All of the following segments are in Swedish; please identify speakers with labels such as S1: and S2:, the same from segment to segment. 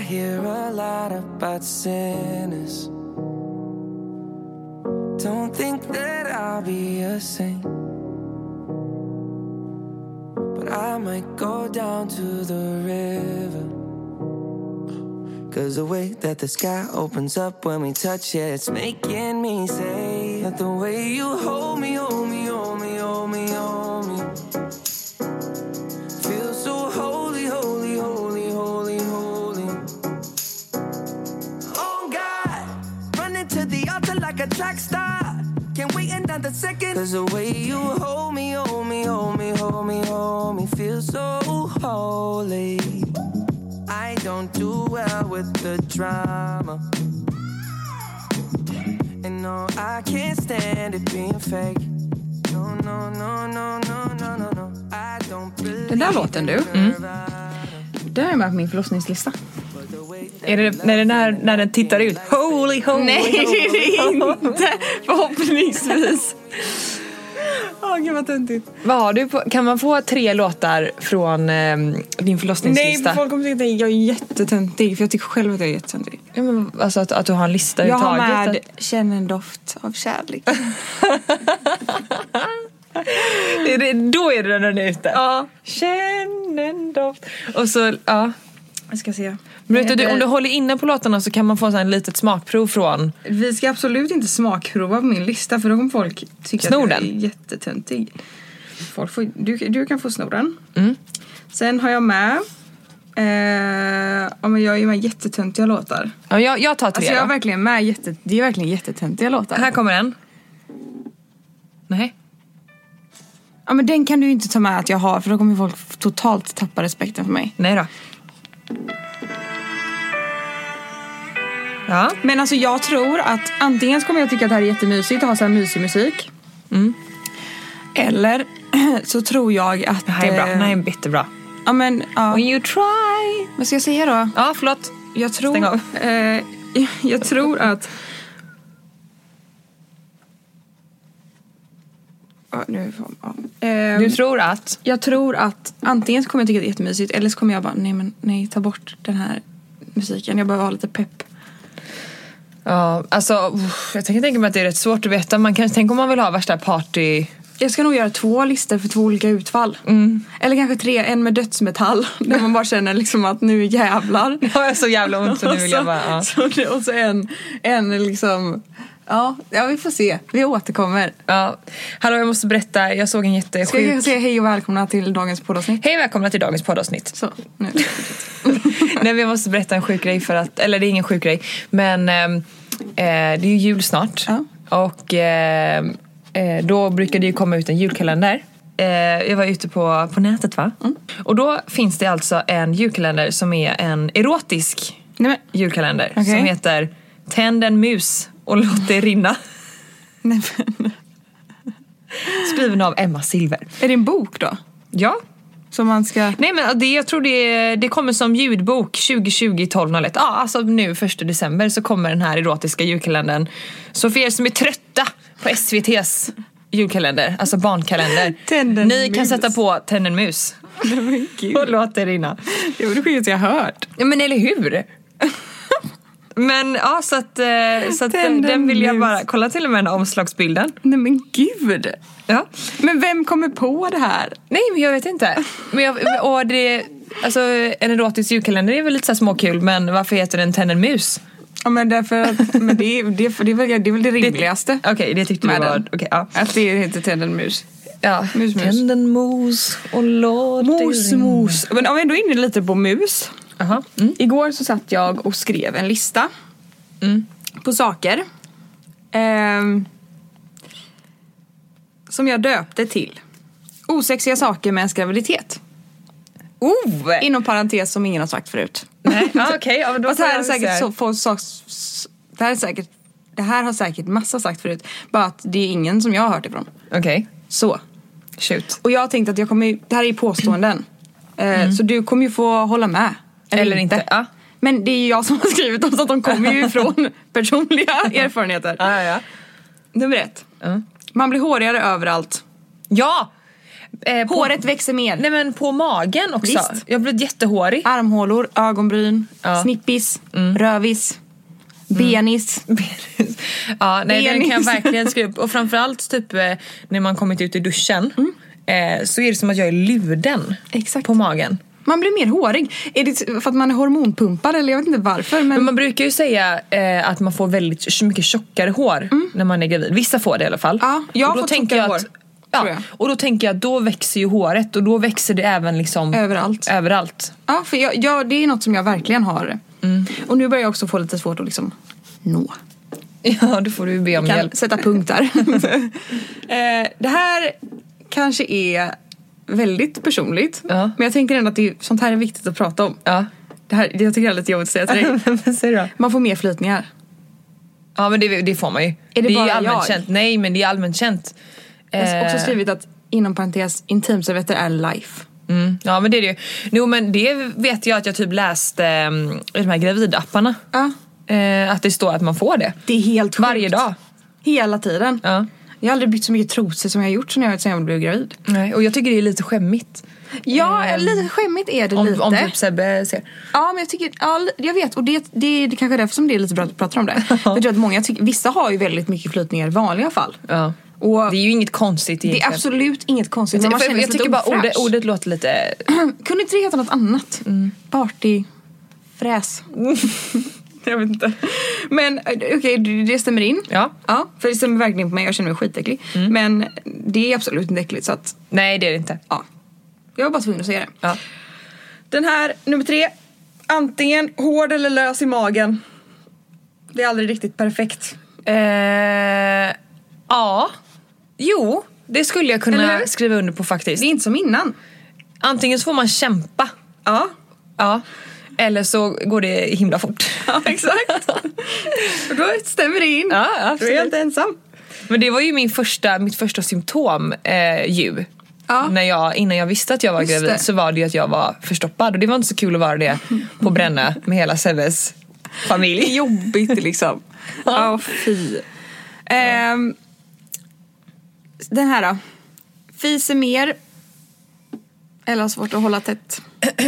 S1: hear a lot about sinners. Don't think that I'll be a saint. But I might go down to the river. Cause the way that the sky opens up when we touch it, it's making me say that the way you hold me, hold me, hold me, hold me, hold me. Feels so holy, holy, holy, holy, holy. Oh God, running to the altar like a track star. Can't wait another second. Cause the way you hold me, hold me, hold me, hold me, hold me. Feels so holy. I don't do well with the drama. And no, I can't stand it being fake. No, no, no, no, no, no, no, no. I don't believe
S2: Den där låten du, Mm.
S3: Det här är med på min förlossningslista.
S2: är det, när, den här, när den tittar ut. Holy, holy,
S3: Nej det
S2: holy.
S3: är det inte! Förhoppningsvis.
S2: Åh gud vad töntigt.
S3: Vad har du på, kan man få tre låtar från ehm, din
S2: Nej,
S3: förlossningslista?
S2: folk kommer tycka att jag är jättetöntig. För jag tycker själv att jag är jättetöntig.
S3: Ja, men, alltså att, att du har en lista
S2: Jag har
S3: överhuvudtaget.
S2: med Känn en doft av kärlek.
S3: Är det, då är det den är ute.
S2: Ja.
S3: Känn en doft. Och så, ja.
S2: Jag ska se. Eh,
S3: Men vet du, du, om du håller inne på låtarna så kan man få så här ett litet smakprov från.
S2: Vi ska absolut inte smakprova på min lista för då kommer folk tycka
S3: Snor
S2: att jag är
S3: den.
S2: jättetöntig. Folk får, du, du kan få sno den. Sen har jag med Eh, ja, men jag är ju med jättetöntiga låtar.
S3: Ja, jag, jag tar tre
S2: Alltså jag är
S3: då.
S2: verkligen med jätte, det är verkligen jättetöntiga låtar.
S3: Här kommer en. Nej.
S2: Ja men den kan du ju inte ta med att jag har för då kommer ju folk totalt tappa respekten för mig.
S3: Nej då. Ja.
S2: Men alltså jag tror att antingen så kommer jag tycka att det här är jättemysigt och ha så här mysig musik.
S3: Mm.
S2: Eller så tror jag att...
S3: Det här är bra.
S2: eh,
S3: Den här är bitterbra.
S2: Ja men, ja.
S3: you try.
S2: Vad ska jag säga då?
S3: Ja, förlåt.
S2: Jag tror...
S3: Stäng av.
S2: Eh, jag tror att... Ja, nu... Ja. Ehm,
S3: Du tror att?
S2: Jag tror att antingen så kommer jag tycka det är jättemysigt eller så kommer jag bara nej men nej ta bort den här musiken. Jag behöver ha lite pepp.
S3: Ja, alltså uff, jag tänker tänka mig att det är rätt svårt att veta. Man kan, tänk om man vill ha värsta party...
S2: Jag ska nog göra två listor för två olika utfall. Eller kanske tre, en med dödsmetall där man bara känner liksom att nu jävlar.
S3: Jag har så jävla ont så nu vill jag bara... Ja.
S2: så, så- och så en, en liksom, ja, ja vi får se, vi återkommer.
S3: Ja. Hallå, jag måste berätta. Jag såg en
S2: Ska jag
S3: jättesjuk...
S2: kanske säga hej och välkomna till dagens poddavsnitt?
S3: Hej och välkomna till dagens poddavsnitt.
S2: Så, nu.
S3: Nej, men jag måste berätta en sjuk grej för att... Eller det är ingen sjuk grej. Men ehm, eh, det är ju jul snart.
S2: Ja.
S3: Och ehm, eh, då brukar det ju komma ut en julkalender. Eh, jag var ute på, på nätet va? Och då finns det alltså en julkalender som är en erotisk
S2: Nej men,
S3: julkalender.
S2: Okej.
S3: Som heter Tänd en mus och låt det rinna.
S2: nej men.
S3: Skriven av Emma Silver.
S2: Är det en bok då?
S3: Ja.
S2: Som man ska...
S3: Nej men det, jag tror det, det kommer som ljudbok 2020 12.01. Ja, alltså nu 1 december så kommer den här erotiska julkalendern. Så för er som är trötta på SVT's julkalender, alltså barnkalender.
S2: Tänd en
S3: ni kan
S2: mus.
S3: sätta på Tänd en mus
S2: Nej men gud.
S3: och låt det rinna.
S2: Det var det sjukaste jag hört.
S3: Ja men eller hur? Men ja, så att, eh, så att den,
S2: Tänd en
S3: den vill jag
S2: mus.
S3: bara, kolla till och med den här omslagsbilden.
S2: Nej men gud.
S3: Ja.
S2: Men vem kommer på det här?
S3: Nej, men jag vet inte. Men jag, och det, alltså, en erotisk julkalender är väl lite så här småkul, men varför heter den Tänd en mus?
S2: Ja men därför att, men det, är- det, är- för det, är väl, det är väl det rimligaste.
S3: Okej, det tyckte du
S2: Med
S3: var...
S2: den.
S3: Okej, ja.
S2: Att det heter tänd en mus.
S3: ja.
S2: Mus, mus.
S3: Tänd en mos och låt
S2: Mos,
S3: det rinna.
S2: mos. Men om vi ändå är inne lite på mus.
S3: Jaha. Mm.
S2: Igår så satt jag och skrev en lista
S3: Mm.
S2: på saker. Ehm, som jag döpte till Osexiga saker med ens graviditet.
S3: Oh!
S2: Inom parentes som ingen har sagt förut.
S3: Nej, ja, okej. Ja, men då
S2: Och det
S3: får
S2: här
S3: jag
S2: är
S3: väl
S2: säkert
S3: säga-
S2: så, folk sa, s- det här är säkert, det här har säkert massa sagt förut. Bara att det är ingen som jag har hört ifrån.
S3: Okej,
S2: Så.
S3: shoot.
S2: Och jag tänkte att jag kommer ju, det här är ju påståenden. Eh, Så du kommer ju få hålla med.
S3: Mm. Eller inte, ja.
S2: Men det är ju jag som har skrivit dem så att de kommer ju ifrån personliga erfarenheter.
S3: Ja, ja,
S2: Nummer ett.
S3: ja.
S2: Man blir hårigare överallt.
S3: Ja! Eh, på,
S2: Håret växer mer.
S3: Nej men på magen också.
S2: Visst.
S3: Jag har blivit jättehårig.
S2: Armhålor, ögonbryn,
S3: Ja. Mm.
S2: snippis, rövis, benis.
S3: ja, nej, den kan jag
S2: Benis.
S3: verkligen skriva upp. Och framförallt typ eh, när man kommit ut i duschen eh, så är det som att jag är luden
S2: Mm. Exakt.
S3: på magen.
S2: Man blir mer hårig. Är det för att man är hormonpumpad eller jag vet inte varför. Men,
S3: Men man brukar ju säga eh, att man får väldigt tj- mycket tjockare hår när man är gravid. Vissa får det i alla fall.
S2: Mm. Ja, jag har
S3: Och då
S2: fått
S3: tänker
S2: tjockare
S3: jag att-
S2: hår,
S3: Ja,
S2: tror jag.
S3: och då tänker jag att då växer ju håret och då växer det även liksom
S2: Överallt.
S3: överallt.
S2: Ja, för jag, jag, det är något som jag verkligen har.
S3: Mm.
S2: Och nu börjar jag också få lite svårt att liksom nå.
S3: Ja, då får du ju be om
S2: Kan
S3: hjälp.
S2: sätta punkt där. eh, det här kanske är väldigt personligt.
S3: Ja.
S2: Men jag tänker ändå att det, är- sånt här är viktigt att prata om.
S3: Ja.
S2: Det här, jag tycker det är lite jobbigt att säga till dig.
S3: Vad säger du då?
S2: Man får mer flytningar.
S3: Ja men det, det får man ju.
S2: det
S3: är
S2: bara
S3: ju allmänt
S2: jag?
S3: känt. Nej men det är allmänt känt.
S2: Jag har också
S3: Eh,
S2: skrivit att inom parentes intimservetter är life.
S3: Mm, ja men det är det ju. Jo men det vet jag att jag typ läste mm, i de här gravidapparna.
S2: Ja.
S3: Eh, att det står att man får det.
S2: Det är helt sjukt.
S3: Varje dag.
S2: Hela tiden.
S3: Ja.
S2: Jag har aldrig bytt så mycket trosor som jag har gjort sen jag, sen jag blev gravid.
S3: Nej, och jag tycker det är lite skämmigt.
S2: Ja,
S3: Ehm,
S2: lite skämmigt är det
S3: Om,
S2: lite.
S3: om typ Sebbe ser.
S2: Ja, men jag tycker, ja, li- jag vet och det, det, det kanske är därför som det är lite bra att vi pratar om det. För jag tror att många tycker, vissa har ju väldigt mycket flytningar i vanliga fall.
S3: Ja.
S2: Och
S3: Det är ju inget konstigt
S2: det är
S3: egentligen.
S2: absolut inget konstigt men man
S3: För
S2: känner
S3: jag,
S2: sig
S3: jag
S2: lite
S3: tycker bara
S2: ofräsch.
S3: ordet, Mm. ordet låter lite...
S2: Kunde inte det heta något annat? Party... Fräs. jag vet inte. Men eh, okej, det- det stämmer in.
S3: Ja. Mm.
S2: ja. För det stämmer verkligen på mig, jag känner mig skitäcklig. Men det är absolut inte äckligt så att,
S3: Nej det är det inte.
S2: ja. Jag var bara tvungen att säga det.
S3: Ja.
S4: Den här, nummer tre. Antingen hård eller lös i magen. Det är aldrig riktigt perfekt.
S3: Eh, ja. Jo, det skulle jag
S2: Eller hur?
S3: kunna skriva under på
S2: Det
S3: faktiskt.
S2: är inte som innan.
S3: Antingen så får man kämpa.
S4: Ja,
S3: Ja. Eller så går det himla fort.
S4: ja exakt. Och då stämmer det in.
S3: Ja,
S4: Då är jag
S3: absolut.
S4: inte ensam.
S3: Men det var ju min första, mitt första symptom eh, ju.
S2: Ja.
S3: När jag, innan jag visste att jag var
S2: Just
S3: gravid
S2: det.
S3: så var det ju att jag var förstoppad och det var inte så kul att vara det på Bränna med hela Seves
S2: Det är
S3: familj.
S2: jobbigt liksom. Ja, fy. Ehm, den här då. Fiser mer. Eller har svårt att hålla tätt.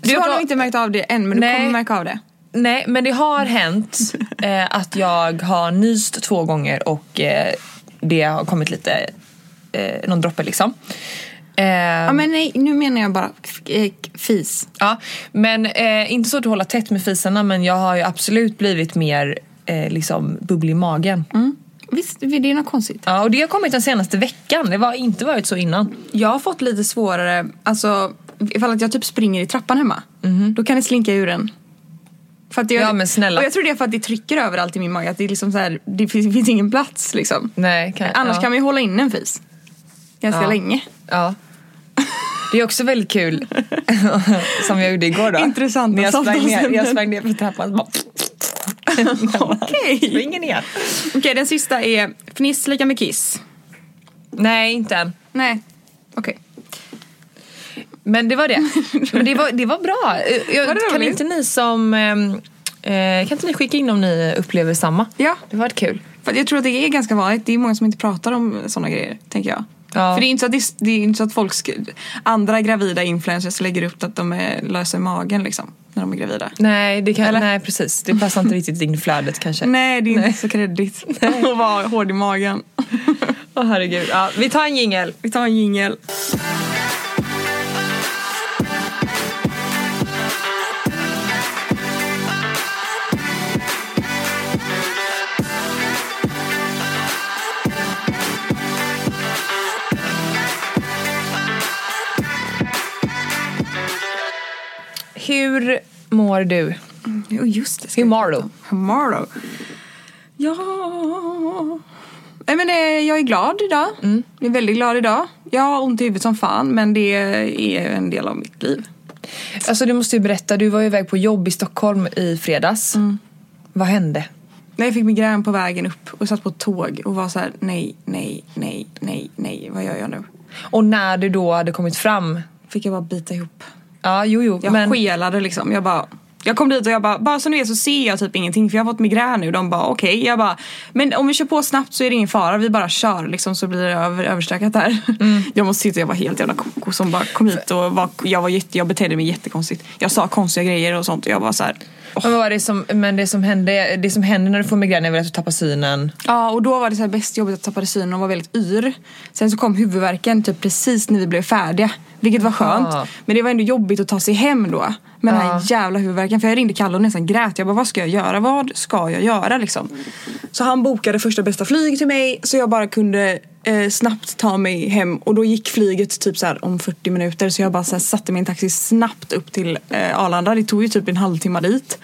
S2: Du har
S3: då-
S2: nog inte märkt av det än men
S3: Nej.
S2: du kommer märka av det.
S3: Nej men det har hänt eh, att jag har nyst två gånger och eh, det har kommit lite, eh, någon droppe liksom. Eh,
S2: Ja men nej, nu menar jag bara f- eh, fis.
S3: Ja, men eh, inte så att hålla tätt med fisarna men jag har ju absolut blivit mer eh, liksom bubblig i magen.
S2: Mm. Visst, det är något konstigt.
S3: Ja, och det har kommit den senaste veckan. Det har inte varit så innan.
S2: Jag har fått lite svårare, alltså ifall att jag typ springer i trappan hemma. Då kan det slinka ur en. För att jag,
S3: Ja, men snälla.
S2: Och jag tror det är för att det trycker överallt i min mage. Att det, är liksom så här, det finns, finns ingen plats liksom.
S3: Nej, kan,
S2: Annars
S3: ja.
S2: kan man ju hålla in en fis. Ganska
S3: Ja.
S2: länge.
S3: Ja. Det är också väldigt kul, som jag gjorde igår då.
S2: Intressanta
S3: när jag sprang, ner,
S2: samtalsämnen.
S3: jag sprang ner för trappan och bara...
S2: Okej.
S3: Springer ner.
S2: Okej, den sista är fniss lika med kiss.
S3: Nej, inte än.
S2: Nej. Okej.
S3: Men det var det. Men det var, det var bra. Eh, Jag,
S2: Vad roligt.
S3: kan inte ni som... ehm, Eh, kan inte ni skicka in om ni upplever samma?
S2: Ja.
S3: Det var kul.
S2: För jag tror att det är ganska vanligt. Det är många som inte pratar om sådana grejer, tänker jag.
S3: Ja.
S2: För det är inte så att, det, det är inte så att folk sk- andra gravida influencers lägger upp att de är lösa i magen liksom, när de är gravida.
S3: Nej, det kan, nej precis. Det passar inte riktigt in i flödet kanske.
S2: Nej, det är inte så kreddigt att vara hård i magen.
S3: Åh herregud. Ja, vi tar en jingel.
S2: Vi tar en jingel.
S3: Hur mår du?
S2: Jo, just det. ska
S3: Hur
S2: vi
S3: mår
S2: prata
S3: du?
S2: om. Hur mår du? Ja... Nej, men, eh, jag är glad idag. Jag är väldigt glad idag. Jag har ont i huvudet som fan, men det är en del av mitt liv.
S3: Alltså du måste ju berätta, du var ju iväg på jobb i Stockholm i fredags.
S2: Mm.
S3: Vad hände?
S2: När jag fick migrän på vägen upp och satt på ett tåg och var så här: nej, nej, nej, nej, nej, vad gör jag nu?
S3: Och när du då hade kommit fram,
S2: Fick jag bara bita ihop.
S3: ja jo jo
S2: Jag
S3: men
S2: skelade liksom. Jag bara, Jag kom dit och jag bara, bara som du vet så ser jag typ ingenting för jag har fått migrän nu. De bara okej. Jag bara, men om vi kör på snabbt så är det ingen fara. Vi bara kör liksom så blir det över, överstökat här. Jag måste sitta, jag var helt jävla koko som bara kom hit och var, jag, var jätte, jag betedde mig jättekonstigt. Jag sa konstiga grejer och sånt och jag var så här.
S3: Men, vad var det som, men det, som hände, det som händer när du får migrän är väl att du tappar synen?
S2: Ja och då var det så här bäst jobbigt att tappade synen och var väldigt yr. Sen så kom huvudvärken typ precis när vi blev färdiga. Vilket var skönt.
S3: Ja.
S2: Men det var ändå jobbigt att ta sig hem då. Med den
S3: Ja.
S2: här jävla huvudvärken. För jag ringde Kalle och nästan grät. Jag bara vad ska jag göra? Vad ska jag göra liksom? Så han bokade första bästa flyg till mig. Så jag bara kunde eh, snabbt ta mig hem. Och då gick flyget typ så här om 40 minuter. Så jag bara så här, satte min taxi snabbt upp till eh, Arlanda. Det tog ju typ en halvtimme dit.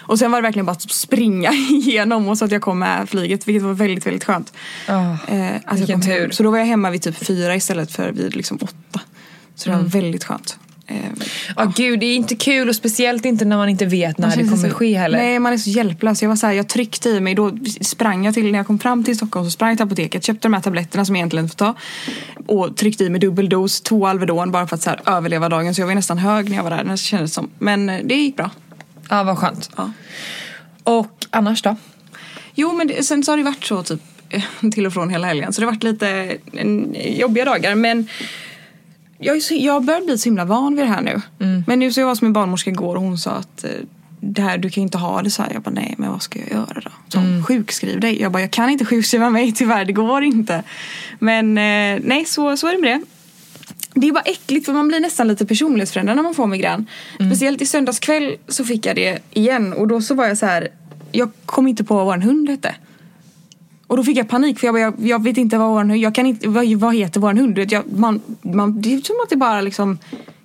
S2: Och sen var det verkligen bara att springa igenom och så att jag kom med flyget. Vilket var väldigt väldigt skönt.
S3: Ah,
S2: Eh, att jag
S3: vilken
S2: kom hem.
S3: tur.
S2: Så då var jag hemma vid typ fyra istället för vid liksom åtta. Så
S3: Mm.
S2: det var väldigt skönt. Eh,
S3: Ja gud, det är inte kul och speciellt inte när man inte vet när det
S2: känns
S3: kommer
S2: så-
S3: ske heller.
S2: Nej, man är så hjälplös. Jag var så här, jag tryckte i mig. Då sprang jag till, när jag kom fram till Stockholm så sprang jag till apoteket, köpte de här tabletterna som jag egentligen inte får ta. Och tryckte i mig dubbeldos, två Alvedon bara för att så här, överleva dagen. Så jag var nästan hög när jag var där. Det kändes som. Men eh, det gick bra.
S3: Ja vad skönt.
S2: Ja.
S3: Och annars då?
S2: Jo, men det, sen så har det varit så typ eh, till och från hela helgen. Så det har varit lite en, jobbiga dagar. Men jag, är så, jag börjar bli så himla van vid det här nu. Men nu så jag var som min barnmorska igår och hon sa att eh, det här, du kan ju inte ha det så här. Jag bara nej, men vad ska jag göra då? Så hon, sjukskriv dig. Jag bara jag kan inte sjukskriva mig tyvärr, det går inte. Men eh, nej, så, så är det med det. Det är bara äckligt för man blir nästan lite personlighetsförändrad när man får migrän. Speciellt i söndags kväll så fick jag det igen och då så var jag så här. Jag kom inte på vad vår hund hette. Och då fick jag panik för jag, bara, jag, jag vet inte vad vår hund, jag kan inte, vad, vad heter vår hund? Du vet, Jag, man, man, det är som att det bara liksom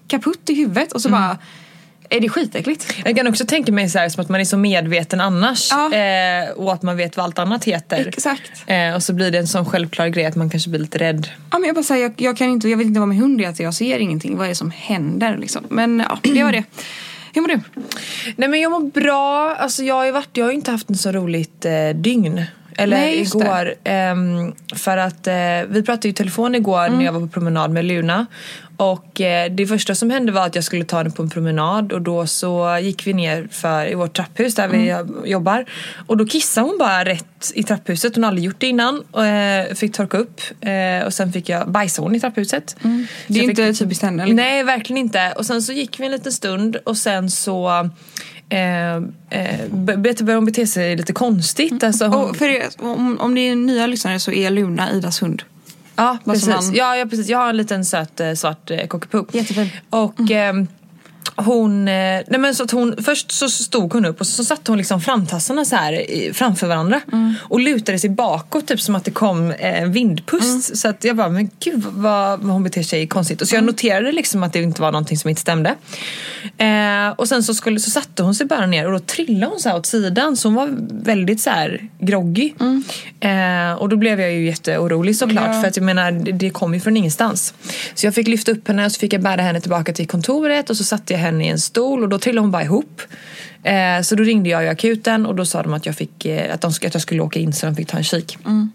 S2: kaputt i huvudet och så bara är det skitäckligt.
S3: Jag kan också tänka mig så här, som att man är så medveten annars
S2: Ja.
S3: eh, och att man vet vad allt annat heter.
S2: Exakt.
S3: Eh, och så blir det en sån självklar grej att man kanske blir lite rädd.
S2: Ja, men jag bara säger, jag, jag, kan inte, jag vet inte vad min hund heter, jag ser ingenting. Vad är det som händer liksom? Men ja, det var det. Hur mår du?
S3: Nej men jag mår bra. Alltså, jag, har ju varit, jag har ju inte haft en så roligt eh, dygn. Eller
S2: Nej, just
S3: igår. ehm, för att eh, vi pratade ju i telefon igår
S2: Mm.
S3: när jag var på promenad med Luna. Och eh, det första som hände var att jag skulle ta henne på en promenad och då så gick vi ner för, i vårt trapphus där
S2: Mm.
S3: vi jobbar. Och då kissade hon bara rätt i trapphuset. Hon har aldrig gjort det innan. Och, eh, fick torka upp eh, och sen fick jag bajsa hon i trapphuset. Så
S2: Mm. Det är
S3: jag
S2: inte
S3: fick-
S2: typiskt henne. eller?
S3: Nej, verkligen inte. Och sen så gick vi en liten stund och sen så eh, eh, började hon bete sig lite konstigt. Alltså hon,
S2: Och för er, om, om ni är nya lyssnare så är Luna Idas hund.
S3: ja,
S2: vad som
S3: precis.
S2: man-
S3: Ja, ja, precis. Jag har en liten söt eh, svart eh, cockapoo.
S2: Jättefin. Mm.
S3: Och ehm, hon, eh, nej men så att hon, först så stod hon upp och så satte hon liksom framtassarna så här i- framför varandra
S2: Mm.
S3: och lutade sig bakåt typ som att det kom eh, en vindpust.
S2: Mm.
S3: Så att jag bara, men gud vad, vad hon beter sig konstigt. Och så jag
S2: Mm.
S3: noterade liksom att det inte var någonting som inte stämde. Eh, och sen så, skulle, så satte hon sig bara ner och då trillade hon så här åt sidan så hon var väldigt så här groggy.
S2: Mm.
S3: Eh, och då blev jag ju jätteorolig såklart för att jag menar det- det kom ju från ingenstans. Så jag fick lyfta upp henne och så fick jag bära henne tillbaka till kontoret och så satte jag henne i en stol och då trillade hon bara ihop. Eh, så då ringde jag ju akuten och då sa de att jag, fick, eh, att de, sk- att jag skulle åka in så de fick ta en kik.
S2: Mm.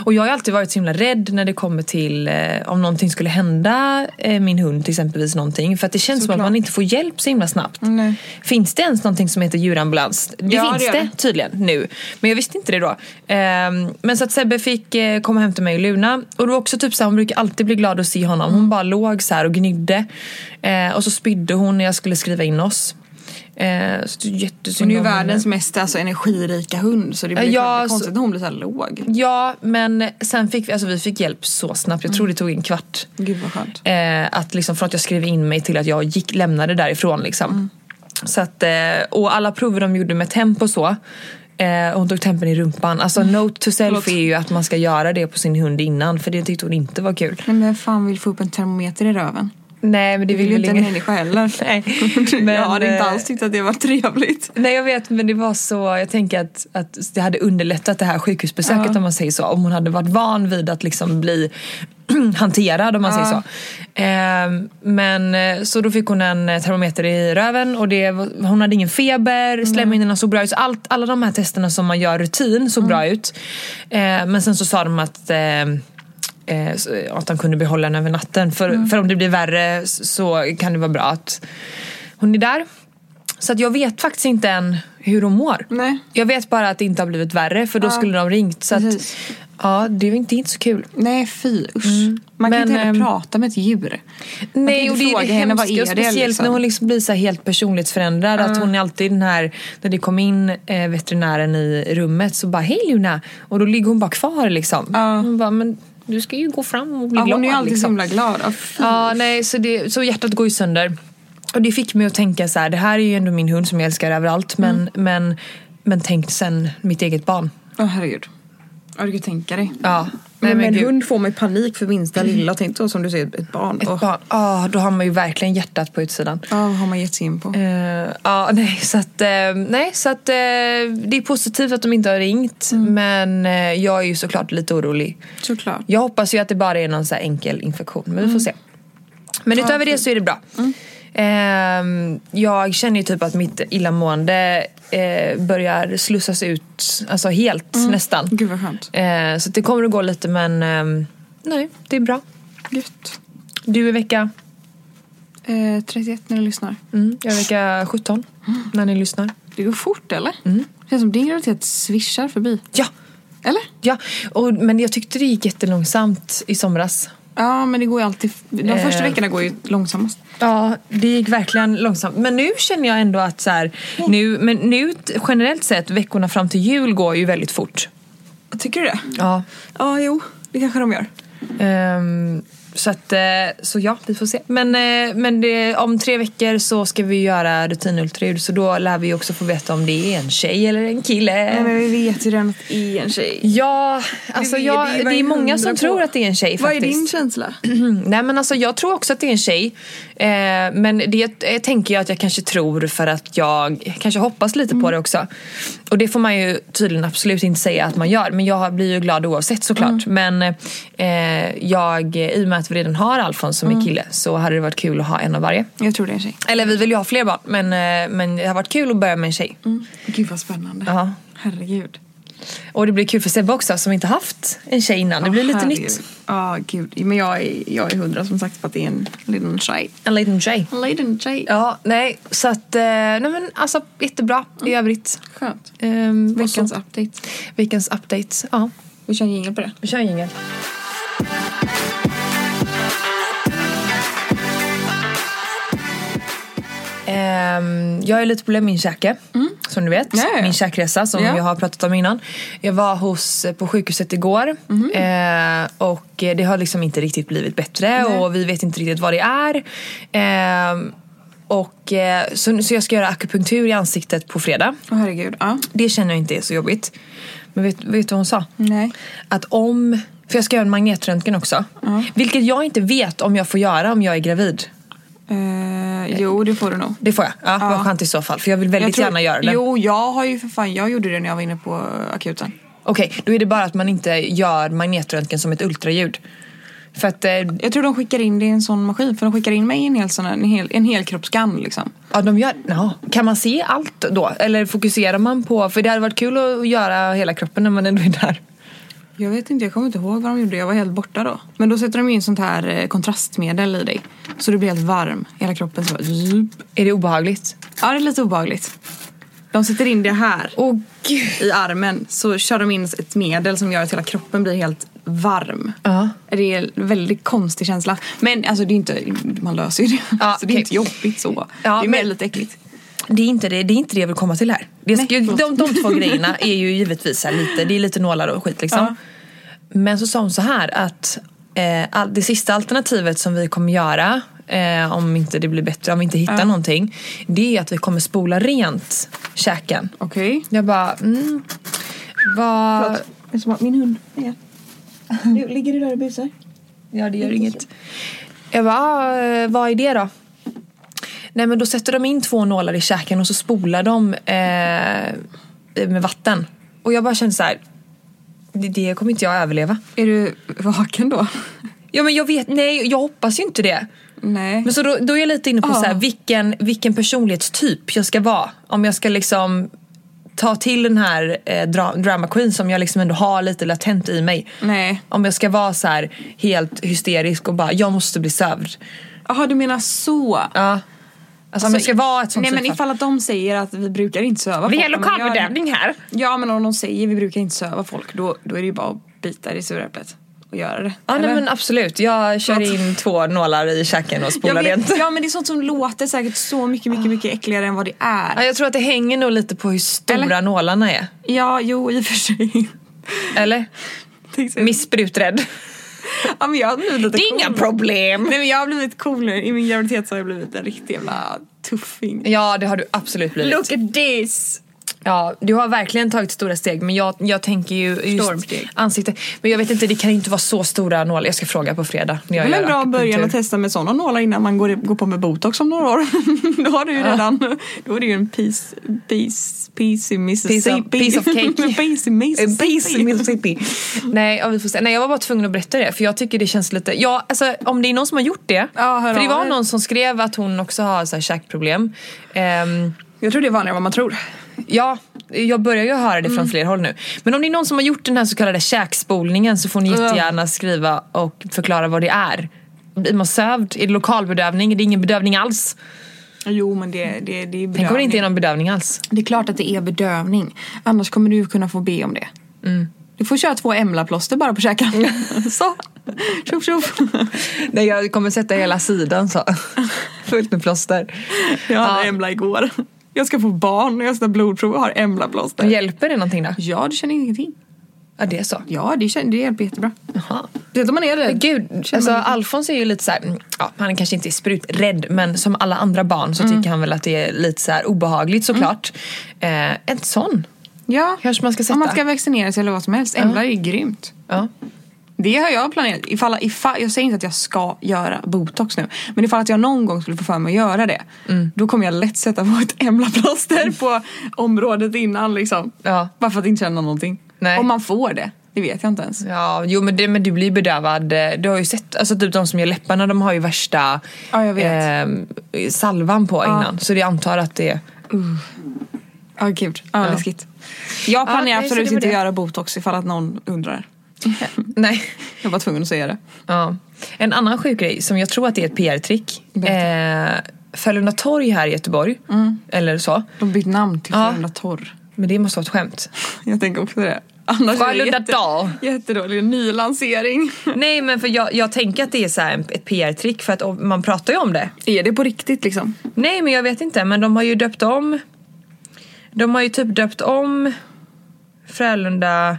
S3: Och jag har ju alltid varit så himla rädd när det kommer till eh, om någonting skulle hända eh, min hund till exempelvis någonting. För att det känns som att man inte får hjälp så himla snabbt.
S2: Nej.
S3: Finns det ens någonting som heter djurambulans? Det
S2: Ja,
S3: finns
S2: det gör
S3: det,
S2: det.
S3: tydligen nu. Men jag visste inte det då. Ehm, men så att Sebbe fick eh, komma hem till mig och Luna. Och det var också typ så här, hon brukar alltid bli glad att se honom. Hon bara låg så här och gnydde. Eh, och så spydde hon när jag skulle skriva in oss. Eh, så det är jättesynd
S2: Hon är ju
S3: om henne.
S2: världens mest alltså, energirika hund så det blir
S3: Ja,
S2: klart det
S3: så-
S2: är konstigt när hon blir så här låg.
S3: Ja, men sen fick vi, alltså vi fick hjälp så snabbt. Jag tror det tog en kvart.
S2: Gud vad skönt.
S3: Eh, att liksom från att jag skrev in mig till att jag gick, lämnade därifrån. Liksom.
S2: Mm.
S3: Så att, eh, och alla prover de gjorde med temp och så. Eh, hon tog tempen i rumpan. Alltså note to self
S2: Mm. Förlåt.
S3: är ju att man ska göra det på sin hund innan. För det tyckte hon inte var kul.
S2: Men vem fan vill få upp en termometer i röven?
S3: Nej men det
S2: Det vill
S3: vill
S2: ju
S3: väl
S2: inte en
S3: ingen-
S2: människa heller.
S3: Nej, men,
S2: Men, jag hade inte
S3: eh,
S2: alls tyckt att det var trevligt.
S3: Nej jag vet men det var så, jag tänker att, att det hade underlättat det här sjukhusbesöket om man säger så. Om hon hade varit van vid att liksom bli hanterad om man säger så. Ehm, men eh, så då fick hon en eh, termometer i röven och det, var- hon hade ingen
S2: Mm.
S3: feber, slemhinnorna såg bra ut. Så Allt, alla de här testerna som man gör rutin
S2: Mm.
S3: såg bra ut. Ehm, men sen så sa de att ehm, eh, så- att de kunde behålla henne över
S2: Mm.
S3: natten. För, för om det blir värre s- så kan det vara bra att hon är där. Så att jag vet faktiskt inte än hur hon mår.
S2: Nej.
S3: Jag vet bara att det inte har blivit värre för då skulle de ringt. Så att,
S2: precis.
S3: ja, det är inte, inte så kul.
S2: Nej fy usch. Mm. Man
S3: Men,
S2: kan inte heller
S3: ehm,
S2: prata med ett djur. Man kan
S3: Nej,
S2: inte
S3: och det är
S2: fråga
S3: det
S2: henne,
S3: hemska.
S2: vad är det,
S3: och speciellt
S2: liksom?
S3: när hon liksom blir så här helt personlighetsförändrad. Att hon är alltid den här, när det kom in eh, veterinären i rummet så bara hej Luna. Och då ligger hon bara kvar liksom. Hon bara, men du ska ju gå fram och bli
S2: Ja,
S3: glad.
S2: hon är ju alltid så
S3: liksom.
S2: himla glad. Ja, fy.
S3: Ja, nej, så, det, så hjärtat går ju sönder. Och det fick mig att tänka så här, det här är ju ändå min hund som jag älskar överallt. Men,
S2: Mm.
S3: men, men tänk sen mitt eget barn.
S2: Åh herregud. Ja du kan tänka dig.
S3: Ja.
S2: Nej, men
S3: gud.
S2: hund får mig panik för minsta lilla. Tänk då som du säger ett barn.
S3: Ett
S2: Åh.
S3: barn. Ja, då har man ju verkligen hjärtat på utsidan.
S2: Ja, vad har man gett sig in på?
S3: Eh, ja, nej, så att, eh, nej, så att eh, det är positivt att de inte har ringt. Men eh, jag är ju såklart lite orolig.
S2: Såklart.
S3: Jag hoppas ju att det bara är någon så här enkel infektion, men vi får se. Men utöver det så är det bra. Ehm, jag känner ju typ att mitt illamående eh, börjar slussas ut, alltså helt nästan.
S2: Gud vad skönt.
S3: Ehm, så att det kommer att gå lite men ehm, nej, det är bra.
S2: Gött.
S3: Du är vecka,
S2: Eh, 31 när du lyssnar.
S3: mm, jag är vecka 17 när ni lyssnar.
S2: Det går fort eller? Känns som din graviditet svischar förbi.
S3: Ja,
S2: Eller?
S3: ja. Och, men jag tyckte det gick jättelångsamt i somras.
S2: Ja men det går ju alltid. De
S3: Eh.
S2: första veckorna går ju långsammast.
S3: Ja, det gick verkligen långsamt. Men nu känner jag ändå att så här,
S2: Mm.
S3: nu, men nu t- generellt sett, veckorna fram till jul går ju väldigt fort.
S2: Tycker du det?
S3: Ja.
S2: Ja jo, det kanske de gör.
S3: Ehm, så, att, eh, så ja, vi får se. Men, eh, men det, om tre veckor så ska vi göra rutinultraljud så då lär vi ju också få veta om det är en tjej eller en kille.
S2: Nej, men vi vet ju redan att det är en tjej.
S3: Ja, alltså
S2: Vi-
S3: jag,
S2: vi- vad
S3: det
S2: är
S3: är många
S2: hundra
S3: som
S2: på?
S3: tror att det är en tjej
S2: Vad är
S3: faktiskt.
S2: din känsla?
S3: Mm, Nej men alltså jag tror också att det är en tjej. Eh, men det eh, tänker jag att jag kanske tror för att jag kanske hoppas lite på det också. Och det får man ju tydligen absolut inte säga att man gör. Men jag blir ju glad oavsett såklart. Men eh, jag, i och med att vi redan har Alfons som är kille så hade det varit kul att ha en av varje.
S2: Jag tror det är en tjej.
S3: Eller vi vill ju ha fler barn men, eh, men det har varit kul att börja med en tjej.
S2: Mm. Gud vad spännande.
S3: Ja.
S2: Herregud.
S3: Och det blir kul för Sebbe också som inte haft en tjej innan. Det blir lite
S2: Herregud.
S3: nytt.
S2: Ja gud. Men jag är, jag är hundra som sagt på att det är en liten tjej.
S3: En liten tjej.
S2: En liten tjej.
S3: Ja, nej så att, eh, nej men alltså jättebra i övrigt.
S2: Skönt.
S3: Ehm,
S2: Veckans
S3: veckans,
S2: update.
S3: veckans updates. Ja.
S2: Vi kör en jingel på det.
S3: Vi kör en jingel. Ehm, jag har ju lite problem med min käke, som du vet.
S2: Ja, ja, ja.
S3: Min käkresa som
S2: Ja.
S3: jag har pratat om innan. Jag var hos, eh, på sjukhuset igår eh, och det har liksom inte riktigt blivit bättre och vi vet inte riktigt vad det är. Ehm, och, eh, så, så jag ska göra akupunktur i ansiktet på fredag.
S2: Åh herregud. Ja.
S3: Det känner jag inte är så jobbigt. Men vet, vet du vad hon sa?
S2: Nej.
S3: att om... För jag ska göra en magnetröntgen också. Vilket jag inte vet om jag får göra om jag är gravid.
S2: Eh, jo det får du nog.
S3: Det får jag. Ja, Vad skönt i så fall. För jag vill väldigt
S2: Jag tror-
S3: gärna göra det.
S2: Jo, jag har ju för fan, jag gjorde det när jag var inne på akuten.
S3: Okej, då är det bara att man inte gör magnetröntgen som ett ultraljud. För att eh,
S2: Jag tror de skickar in det i en sån maskin, för de skickar in mig i en hel, sån här, en hel, en hel kroppsscan liksom.
S3: ja, de gör... Ja. Kan man se allt då? Eller fokuserar man på... För det hade varit kul att göra hela kroppen när man ändå är där.
S2: Jag vet inte, jag kommer inte ihåg vad de gjorde, jag var helt borta då. Men då sätter de in sånt här eh, kontrastmedel i dig. Så du blir helt varm, hela kroppen så bara zup.
S3: Är det obehagligt?
S2: Ja, det är lite obehagligt. De sätter in det här
S3: Åh gud!
S2: i armen, så kör de in ett medel som gör att hela kroppen blir helt varm.
S3: Ja.
S2: Det är en väldigt konstig känsla. Men alltså det är inte, man löser ju det.
S3: Ja,
S2: så det är
S3: okej.
S2: inte jobbigt så. det
S3: Ja,
S2: är mer
S3: men-
S2: lite äckligt.
S3: Det är inte det, det är inte det jag vill komma till här. Det ska,
S2: Nej,
S3: de,
S2: förlåt.
S3: de två grejerna är ju givetvis här lite, det är lite nålar och skit liksom.
S2: Ja.
S3: Men så sa hon så här att eh, all, det sista alternativet som vi kommer göra eh, om inte det blir bättre, om vi inte hittar någonting. Det är att vi kommer spola rent käken.
S2: Okej.
S3: Jag bara, mm, vad...
S2: Det är som att min hund är du, Ligger du där och busar?
S3: Ja, det gör inget. Jag bara, ah, eh, vad är det då? Nej men då sätter de in två nålar i käken och så spolar de eh, med vatten. Och jag bara kände så här, det, det kommer inte jag överleva.
S2: Är du vaken då?
S3: Ja men jag vet, nej jag hoppas ju inte det.
S2: Nej.
S3: Men så då, då är jag lite inne på
S2: Ja.
S3: så här, vilken, vilken personlighetstyp jag ska vara. Om jag ska liksom ta till den här eh, dra, drama queen som jag liksom ändå har lite latent i mig.
S2: Nej.
S3: Om jag ska vara så här helt hysterisk och bara jag måste bli sövd.
S2: Jaha, du menar så?
S3: Ja. Alltså, om det ska vara ett sånt
S2: Nej men
S3: sätt.
S2: ifall att de säger att vi brukar inte söva
S3: Vi är
S2: folk, men gör det.
S3: lokalbedömning här.
S2: Ja men om de säger vi brukar inte söva folk då, då är det ju bara att bita i sura äpplet och göra det.
S3: Ja nej,
S2: Eller?
S3: men absolut, jag kör in två nålar i käken och
S2: jag
S3: spolar rent.
S2: vet, ja men det är sånt som låter säkert så mycket, mycket, mycket äckligare än vad det
S3: Ja,
S2: är.
S3: jag tror att det hänger nog lite på hur stora
S2: Eller?
S3: nålarna är.
S2: Ja, jo i och för sig.
S3: Eller?
S2: Tänkte jag.
S3: Missbruträdd.
S2: Ja, men jag har blivit lite
S3: Det är inga
S2: cool.
S3: problem!
S2: Nej men jag har blivit cool nu. I min graviditet så har jag blivit en riktig jävla tuffing.
S3: Ja, det har du absolut blivit.
S2: Look at this!
S3: Ja, du har verkligen tagit stora steg men jag, jag tänker ju just
S2: Stormsteg.
S3: ansikte. Men jag vet inte, det kan ju inte vara så stora nålar. Jag ska fråga på fredag. När
S2: Det
S3: jag
S2: är väl en
S3: gör
S2: bra början
S3: akupunktur.
S2: att testa med sådana nålar innan man går, går på med botox om några år. då har du ju redan, då är det ju en piece, piece, piece i Mississippi.
S3: piece of cake.
S2: piece i
S3: Eh, Base in
S2: Mississippi.
S3: Mississippi. Nej, ja, vi får se. Nej, jag var bara tvungen att berätta det för jag tycker det känns lite... Ja, alltså, om det är någon som har gjort det.
S2: Ja, hör
S3: för det
S2: av
S3: var
S2: er.
S3: någon som skrev att hon också har så här käkproblem. Ehm,
S2: Jag tror det är vanligare än vad man tror.
S3: ja, jag börjar ju höra det från fler håll nu. Men om det är någon som har gjort den här så kallade käkspolningen så får ni jättegärna skriva och förklara vad det är. Blir man sövd? Är det lokalbedövning? Är det ingen bedövning alls?
S2: Jo men det, det, det är bedövning.
S3: Tänk om det inte är någon bedövning alls.
S2: Det är klart att det är bedövning. Annars kommer du ju kunna få be om det. Du får köra två emlaplåster bara på käkarna. så! Tjoff tjoff!
S3: Nej, jag kommer sätta hela sidan så. Fullt med plåster.
S2: Jag hade
S3: Ja.
S2: emla igår. Jag ska få barn och jag ska ta blodprov och har emlaplåster.
S3: Hjälper det någonting då?
S2: Ja, du känner ingenting.
S3: Ja, det är så.
S2: Ja, det, känner, det hjälper jättebra.
S3: Jaha.
S2: Det är man är
S3: Men
S2: rädd.
S3: gud, alltså, Alfons är ju lite så här, mm, ja, han är kanske inte spruträdd men som alla andra barn så
S2: Mm.
S3: tycker han väl att det är lite så här obehagligt såklart.
S2: Mm.
S3: Eh, en sån
S2: Ja,
S3: kanske man ska sätta.
S2: om man ska vaccinera sig eller vad som helst. Embla är grymt.
S3: ja.
S2: Det har jag planerat. Ifall, ifall, jag säger inte att jag ska göra botox nu. Men ifall att jag någon gång skulle få för mig att göra det.
S3: Mm.
S2: Då kommer jag lätt sätta på ett emlaplåster på området innan. Liksom.
S3: Ja.
S2: Bara för att inte känna någonting.
S3: Nej.
S2: Om man får det. Det vet jag inte ens.
S3: Ja, jo men, det, men du blir bedövad. Eh, Du har ju sett, alltså typ de som gör läpparna de har ju värsta
S2: Ja, jag vet.
S3: eh, salvan på innan. Så det antar att det
S2: Ja, gud. Ja,
S3: Ja.
S2: läskigt. Jag
S3: Ja, nej,
S2: planerar
S3: så
S2: absolut
S3: det var
S2: inte att
S3: det.
S2: göra botox ifall att någon undrar.
S3: Nej.
S2: Jag var tvungen att säga det.
S3: Ja. En annan sjuk grej som jag tror att det är ett PR-trick. Eh, Frölunda torg här i Göteborg,
S2: Mm.
S3: eller så.
S2: De bytte namn till
S3: Ja.
S2: Frölunda Torr.
S3: Men det måste vara ett skämt.
S2: Jag tänker också det. Annars är det
S3: Frölunda
S2: jätte,
S3: Dal.
S2: jättedålig nylansering.
S3: Nej men för jag, jag tänker att det är så här en- ett PR-trick för att om- man pratar ju om det.
S2: Är det på riktigt liksom?
S3: Nej men jag vet inte men de har ju döpt om De har ju typ döpt om Frölunda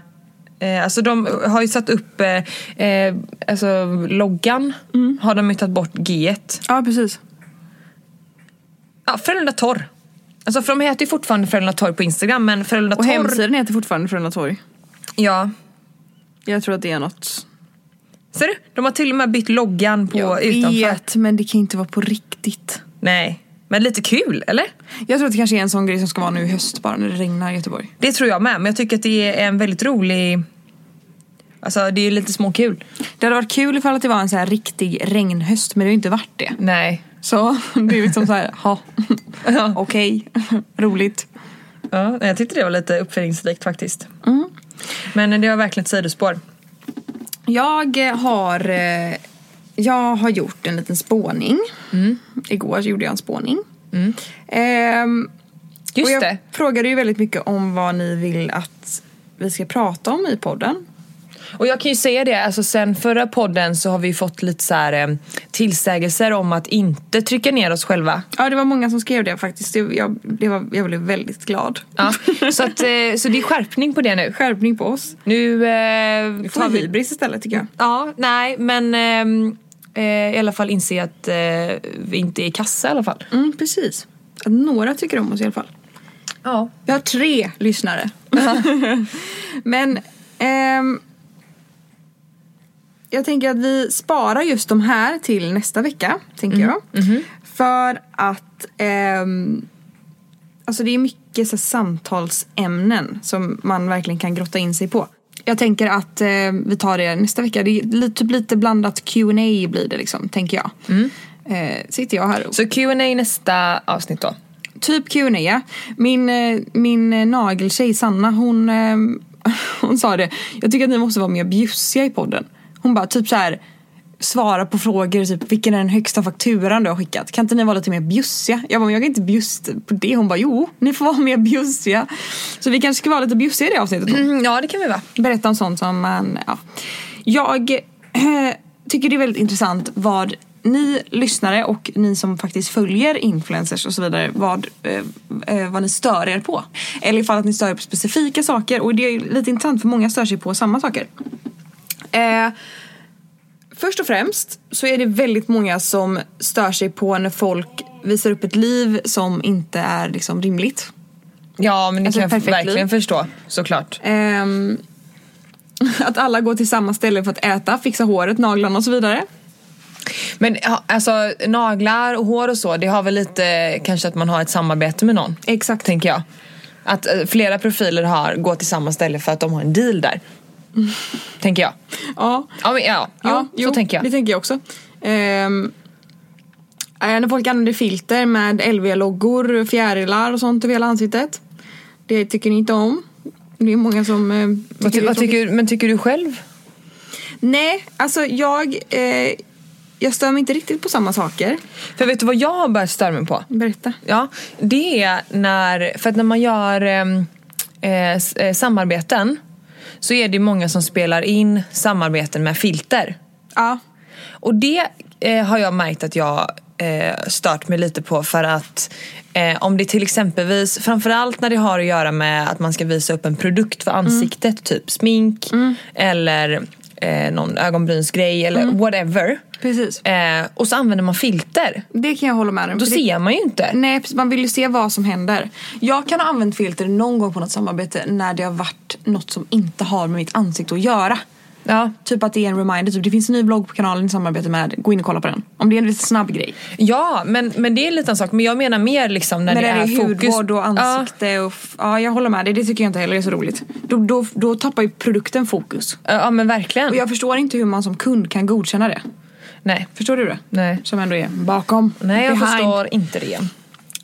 S3: eh, Alltså de har ju satt upp eh, eh, Alltså loggan
S2: Mm.
S3: Har de ju tagit bort g
S2: Ja, precis.
S3: Ja, Frölunda Torr Alltså för de heter ju fortfarande Frölunda Torr på Instagram men Frölunda
S2: Och
S3: Torr
S2: hemsidan heter fortfarande Frölunda Torg.
S3: Ja
S2: Jag tror att det är något.
S3: Ser du? De har till och med bytt loggan på utanför
S2: vet, men det kan inte vara på riktigt.
S3: Nej men lite kul eller?
S2: Jag tror att det kanske är en sån grej som ska vara nu i höst bara när det regnar i Göteborg.
S3: Det tror jag med, men jag tycker att det är en väldigt rolig... Alltså det är lite småkul.
S2: Det hade varit kul ifall att det var en så här riktig regnhöst, men det har ju inte varit det.
S3: Nej.
S2: Så det är liksom så här, ha,
S3: Ja.
S2: okej, roligt.
S3: Ja, jag tyckte det var lite uppfinningsrikt faktiskt. Men det var verkligen ett sidospår.
S5: Jag eh, har, eh, jag har gjort en liten spåning.
S3: Mm.
S5: Igår gjorde jag en spåning. Ehm,
S3: Just
S5: och jag
S3: det.
S5: frågade ju väldigt mycket om vad ni vill att vi ska prata om i podden.
S3: Och jag kan ju säga det, alltså sen förra podden så har vi fått lite så här, eh, tillsägelser om att inte trycka ner oss själva.
S5: Ja, det var många som skrev det faktiskt. Det, jag, det var, jag blev väldigt glad.
S3: Ja. så, att, eh, så det är skärpning på det nu.
S5: Skärpning på oss.
S3: Nu eh,
S5: Ta
S3: tar vi
S5: hybris istället tycker jag.
S3: Ja, nej, men ehm, eh, i alla fall inse att eh, vi inte är i kassa i alla fall.
S5: Mm, precis. Att några tycker om oss i alla fall.
S3: Ja.
S5: Vi har tre lyssnare. Men ehm, jag tänker att vi sparar just de här till nästa vecka. tänker jag. För att ehm, alltså det är mycket så här, samtalsämnen som man verkligen kan grotta in sig på. Jag tänker att eh, vi tar det nästa vecka. Det är lite, typ lite blandat Q&A blir det liksom, tänker jag. Eh, sitter jag här och
S3: Så Q&A nästa avsnitt då.
S5: Typ Q&A. ja. Min, eh, min eh, nageltjej Sanna hon, eh, hon sa det. Jag tycker att ni måste vara mer bjussiga i podden. Hon bara typ så här.
S2: svara på frågor, typ vilken är den högsta fakturan du har skickat? Kan inte ni vara lite mer bjussiga? Jag bara, men jag är inte bjussig på det. Hon bara, jo, ni får vara mer bjussiga. Så vi kanske ska vara lite bjussiga i det avsnittet. då.
S3: Mm, Ja, det kan vi vara.
S2: Berätta om sånt som man, ja. Jag eh, tycker det är väldigt intressant vad ni lyssnare och ni som faktiskt följer influencers och så vidare, vad, eh, eh, vad ni stör er på. Eller ifall att ni stör er på specifika saker. Och det är ju lite intressant för många stör sig på samma saker. Eh, Först och främst så är det väldigt många som stör sig på när folk visar upp ett liv som inte är liksom rimligt.
S3: Ja, men det
S2: Alltså,
S3: kan jag
S2: perfekt
S3: verkligen
S2: liv.
S3: förstå. Såklart.
S2: Ehm, att alla går till samma ställe för att äta, fixa håret, naglarna och så vidare.
S3: Men ja, alltså naglar och hår och så, det har väl lite kanske att man har ett samarbete med någon.
S2: Exakt.
S3: Tänker jag. Att eh, flera profiler har, går till samma ställe för att de har en deal där. Tänker jag.
S2: Ja,
S3: Ja, men, ja,
S2: ja,
S3: jo, så tänker jag.
S2: Det tänker jag också. Ehm, eh, när folk använder filter med LV-loggor, fjärilar och sånt över hela ansiktet. Det tycker ni inte om. Det är många som eh,
S3: Vad,
S2: det
S3: ty,
S2: är
S3: vad
S2: tråkigt.
S3: tycker, men tycker du själv?
S2: Nej, alltså jag, eh, jag stör mig inte riktigt på samma saker.
S3: För vet du vad jag har börjat störa mig på?
S2: Berätta.
S3: Ja, det är när, för att när man gör ehm, eh, s- eh, samarbeten så är det ju många som spelar in samarbeten med filter.
S2: Ja,
S3: Och det eh, har jag märkt att jag eh, stört mig lite på för att eh, om det till exempelvis, framförallt när det har att göra med att man ska visa upp en produkt
S2: Mm.
S3: för ansiktet, typ smink eller eh, någon ögonbrynsgrej eller whatever.
S2: Mm. precis.
S3: Eh, och så använder man filter.
S2: Det kan jag hålla med om.
S3: Då
S2: för det- Mm.
S3: ser man ju inte.
S2: Nej, precis, man vill ju se vad som händer. Jag kan ha använt filter någon gång på något samarbete när det har varit något som inte har med mitt ansikte att göra.
S3: Ja.
S2: Typ att det är en reminder, typ det finns en ny blogg på kanalen i samarbete med, gå in och kolla på den. Om det är en lite snabb grej.
S3: Ja, men, men det är en liten sak. Men jag menar mer liksom när,
S2: När det är,
S3: fokus.
S2: hudvård och ansikte och... f- Ja, jag håller med dig. Det tycker jag inte heller är så roligt. Då, då, då tappar ju produkten fokus.
S3: Ja, ja men verkligen.
S2: Och jag förstår inte hur man som kund kan godkänna det.
S3: Nej.
S2: Förstår du det?
S3: Nej.
S2: Som ändå är bakom.
S3: Nej, jag
S2: behind.
S3: förstår inte det.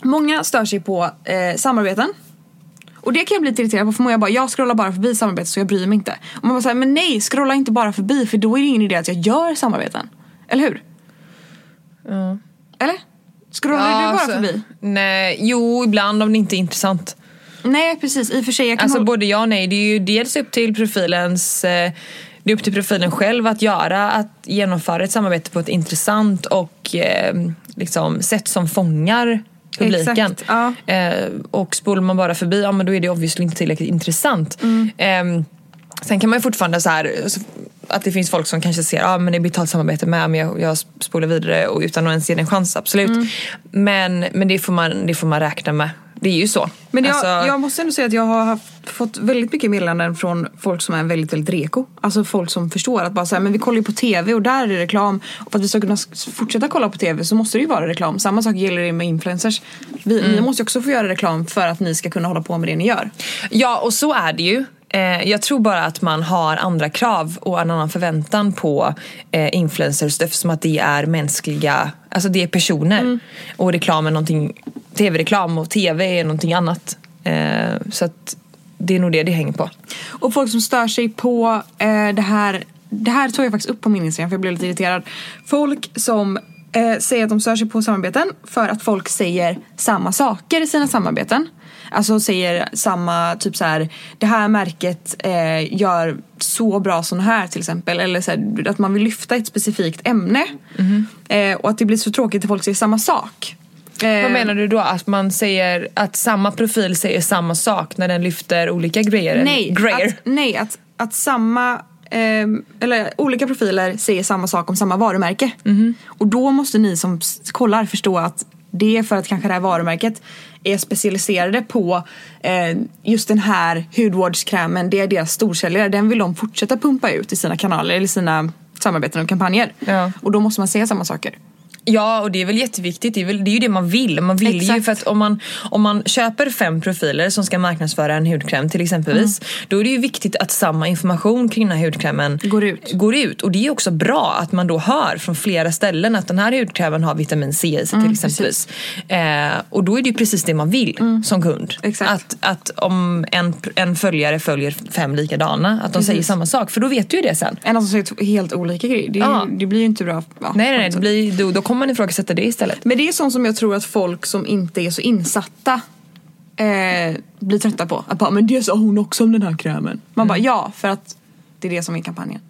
S2: Många stör sig på eh, samarbeten. Och det kan jag bli lite irriterad på för många jag bara jag scrollar bara förbi samarbeten så jag bryr mig inte. Och man bara säger men nej scrolla inte bara förbi för då är det ingen idé att jag gör samarbeten. Eller hur? Eller? Scrollar du bara
S3: alltså,
S2: förbi?
S3: Nej, jo, ibland om det inte är intressant.
S2: Nej precis, i och för sig. Jag kan
S3: Alltså
S2: hålla...
S3: både ja och nej. Det är ju dels upp till profilens eh, det är upp till profilen själv att göra, att genomföra ett samarbete på ett intressant och eh, liksom, sätt som fångar publiken.
S2: Exakt, ja.
S3: Eh, och spolar man bara förbi, ja men då är det obviously inte tillräckligt intressant.
S2: Mm.
S3: Ehm, sen kan man ju fortfarande så här så- att det finns folk som kanske ser, ja men det är betalt samarbete med men jag, jag spolar vidare och utan att ens ge det en chans, absolut.
S2: Mm.
S3: Men, men det, får man, det får man räkna med. Det är ju så.
S2: Men jag,
S3: Alltså-
S2: jag måste ändå säga att jag har haft, fått väldigt mycket meddelanden från folk som är väldigt, väldigt reko. Alltså folk som förstår att bara så här, men vi kollar ju på TV och där är det reklam. Och för att vi ska kunna s- fortsätta kolla på TV så måste det ju vara reklam. Samma sak gäller det med influencers. Vi, Ni måste ju också få göra reklam för att ni ska kunna hålla på med det ni gör.
S3: Ja, och så är det ju. Eh, Jag tror bara att man har andra krav och en annan förväntan på eh, influencers eftersom att det är mänskliga, alltså det är personer.
S2: Mm.
S3: Och reklam är någonting, tv-reklam och tv är någonting annat. Eh, Så att det är nog det det hänger på.
S2: Och folk som stör sig på eh, det här Det här tog jag faktiskt upp på min Instagram för jag blev lite irriterad Folk som eh, säger att de stör sig på samarbeten för att folk säger samma saker i sina samarbeten Alltså säger samma, typ så här Det här märket eh, gör så bra sån här till exempel Eller så här, att man vill lyfta ett specifikt ämne
S3: Mhm.
S2: eh, Och att det blir så tråkigt att folk säger samma sak Eh,
S3: Vad menar du då? Att man säger att samma profil säger samma sak när den lyfter olika grejer?
S2: Nej,
S3: grejer.
S2: Att, nej att, att samma ehm, eller olika profiler säger samma sak om samma varumärke.
S3: Mhm.
S2: Och då måste ni som s- kollar förstå att det är för att kanske det här varumärket är specialiserade på eh, just den här hudvårdskrämen. Det är deras storsäljare. Den vill de fortsätta pumpa ut i sina kanaler eller sina samarbeten och kampanjer.
S3: Ja.
S2: Och då måste man säga samma saker.
S3: Ja och det är väl jätteviktigt, det är, väl, det är ju det man vill. Man vill ju
S2: Exakt.
S3: för att om man, om man köper fem profiler som ska marknadsföra en hudkräm till exempelvis.
S2: Mm.
S3: Då är det ju viktigt att samma information kring den här hudkrämen
S2: Går ut.
S3: går ut. Och det är ju också bra att man då hör från flera ställen att den här hudkrämen har vitamin C i
S2: Mm,
S3: sig till exempelvis. Eh, och då är det ju precis det man vill som kund.
S2: Mm. Exakt.
S3: Att, att om en, en följare följer fem likadana, att de säger samma sak. För då vet du ju det sen.
S2: En alltså säger t- helt olika grejer. Det, är ju-
S3: Ja.
S2: det blir ju inte bra. Ja,
S3: Nej, nej, nej det blir, då, då kommer man ifrågasätta det istället.
S2: Men det är sånt som jag tror att folk som inte är så insatta eh, blir trötta på. Att bara, men det sa hon också om den här krämen. Man bara, ja, för att det är det som är kampanjen.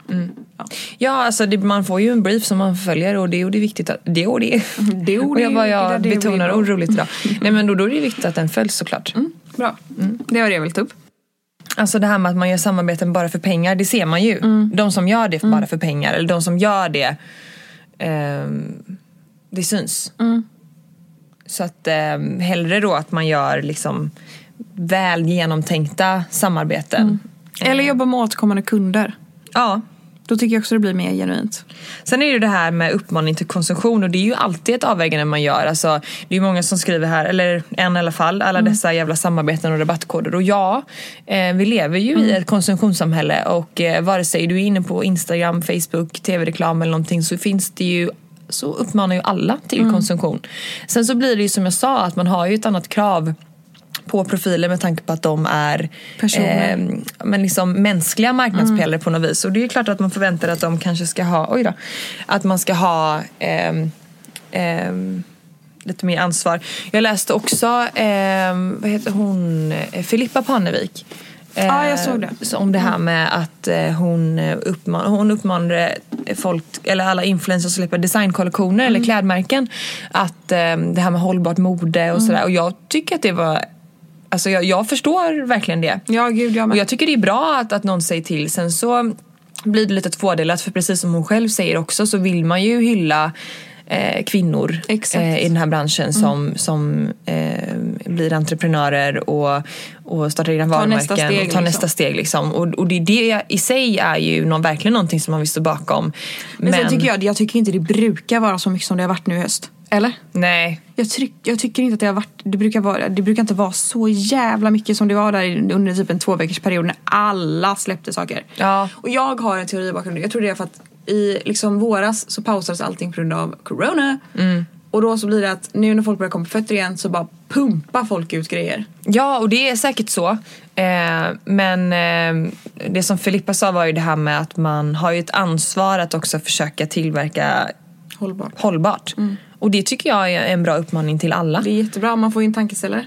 S2: Ja.
S3: Ja, alltså det, man får ju en brief som man följer och det, och det är viktigt att... Det och det.
S2: det och
S3: och jag,
S2: det,
S3: bara,
S2: det där,
S3: jag
S2: det och det
S3: betonar
S2: och-
S3: ord roligt idag. Nej men då, då är det viktigt att den följs såklart.
S2: Mm. Bra, det var det jag ville ta upp.
S3: Alltså det här med att man gör samarbeten bara för pengar, det ser man ju.
S2: Mm.
S3: De som gör det bara för pengar, eller de som gör det, ehm, det syns.
S2: Mm.
S3: Så att eh, hellre då att man gör liksom väl genomtänkta samarbeten.
S2: Mm. Eller jobba med återkommande kunder.
S3: Ja.
S2: Då tycker jag också det blir mer genuint.
S3: Sen är det ju det här med uppmaning till konsumtion och det är ju alltid ett avvägande man gör. Alltså, det är ju många som skriver här, eller en i alla fall, alla dessa jävla samarbeten och rabattkoder. Och ja, eh, vi lever ju i ett konsumtionssamhälle och eh, vare sig du är inne på Instagram, Facebook, tv-reklam eller någonting så finns det ju så uppmanar ju alla till konsumtion. Sen så blir det ju som jag sa att man har ju ett annat krav på profiler med tanke på att de är
S2: Personer.
S3: eh, men liksom mänskliga marknadspelare på något vis. Och det är ju klart att man förväntar att de kanske ska ha, oj då, att man ska ha ehm, ehm, lite mer ansvar. Jag läste också, ehm, vad heter hon, Eh, Filippa Panevik.
S2: Ja, jag
S3: Eh,
S2: såg det.
S3: så Om det här med att eh, hon, eh, uppman- hon uppmanade folk, eller alla influencers att släppa designkollektioner
S2: Mm.
S3: eller klädmärken. Att eh, det här med hållbart mode
S2: Mm.
S3: och sådär. Och jag tycker att det var, alltså jag, jag förstår verkligen det.
S2: Ja, gud jag
S3: Och
S2: med.
S3: jag tycker det är bra att, att någon säger till. Sen så blir det lite tvådelat för precis som hon själv säger också så vill man ju hylla eh, kvinnor
S2: Exakt. Mm.
S3: eh, i den här branschen som, som eh, blir entreprenörer och, och startar egna varumärken.
S2: nästa steg,
S3: och tar
S2: liksom.
S3: nästa steg liksom. Och, och det, det i sig är ju någon, verkligen någonting som man vill stå bakom.
S2: Men, sen tycker jag, jag tycker inte det brukar vara så mycket som det har varit nu i höst. Eller?
S3: Nej,
S2: Jag, tryck, jag tycker inte att det har varit, det brukar, vara, det brukar inte vara så jävla mycket som det var där i- under typ en två veckors period när alla släppte saker.
S3: Ja.
S2: Och jag har en teori bakom det. Jag tror det är för att i liksom våras så pausades allting på grund av corona.
S3: Mm.
S2: Och då så blir det att nu när folk börjar komma på fötter igen så bara pumpar folk ut grejer.
S3: Ja, och det är säkert så. Eh, men eh, det som Filippa sa var ju det här med att man har ju ett ansvar att också försöka tillverka
S2: Hållbart.
S3: hållbart. Och det tycker jag är en bra uppmaning till alla.
S2: Det är jättebra, man får ju en tankeställare.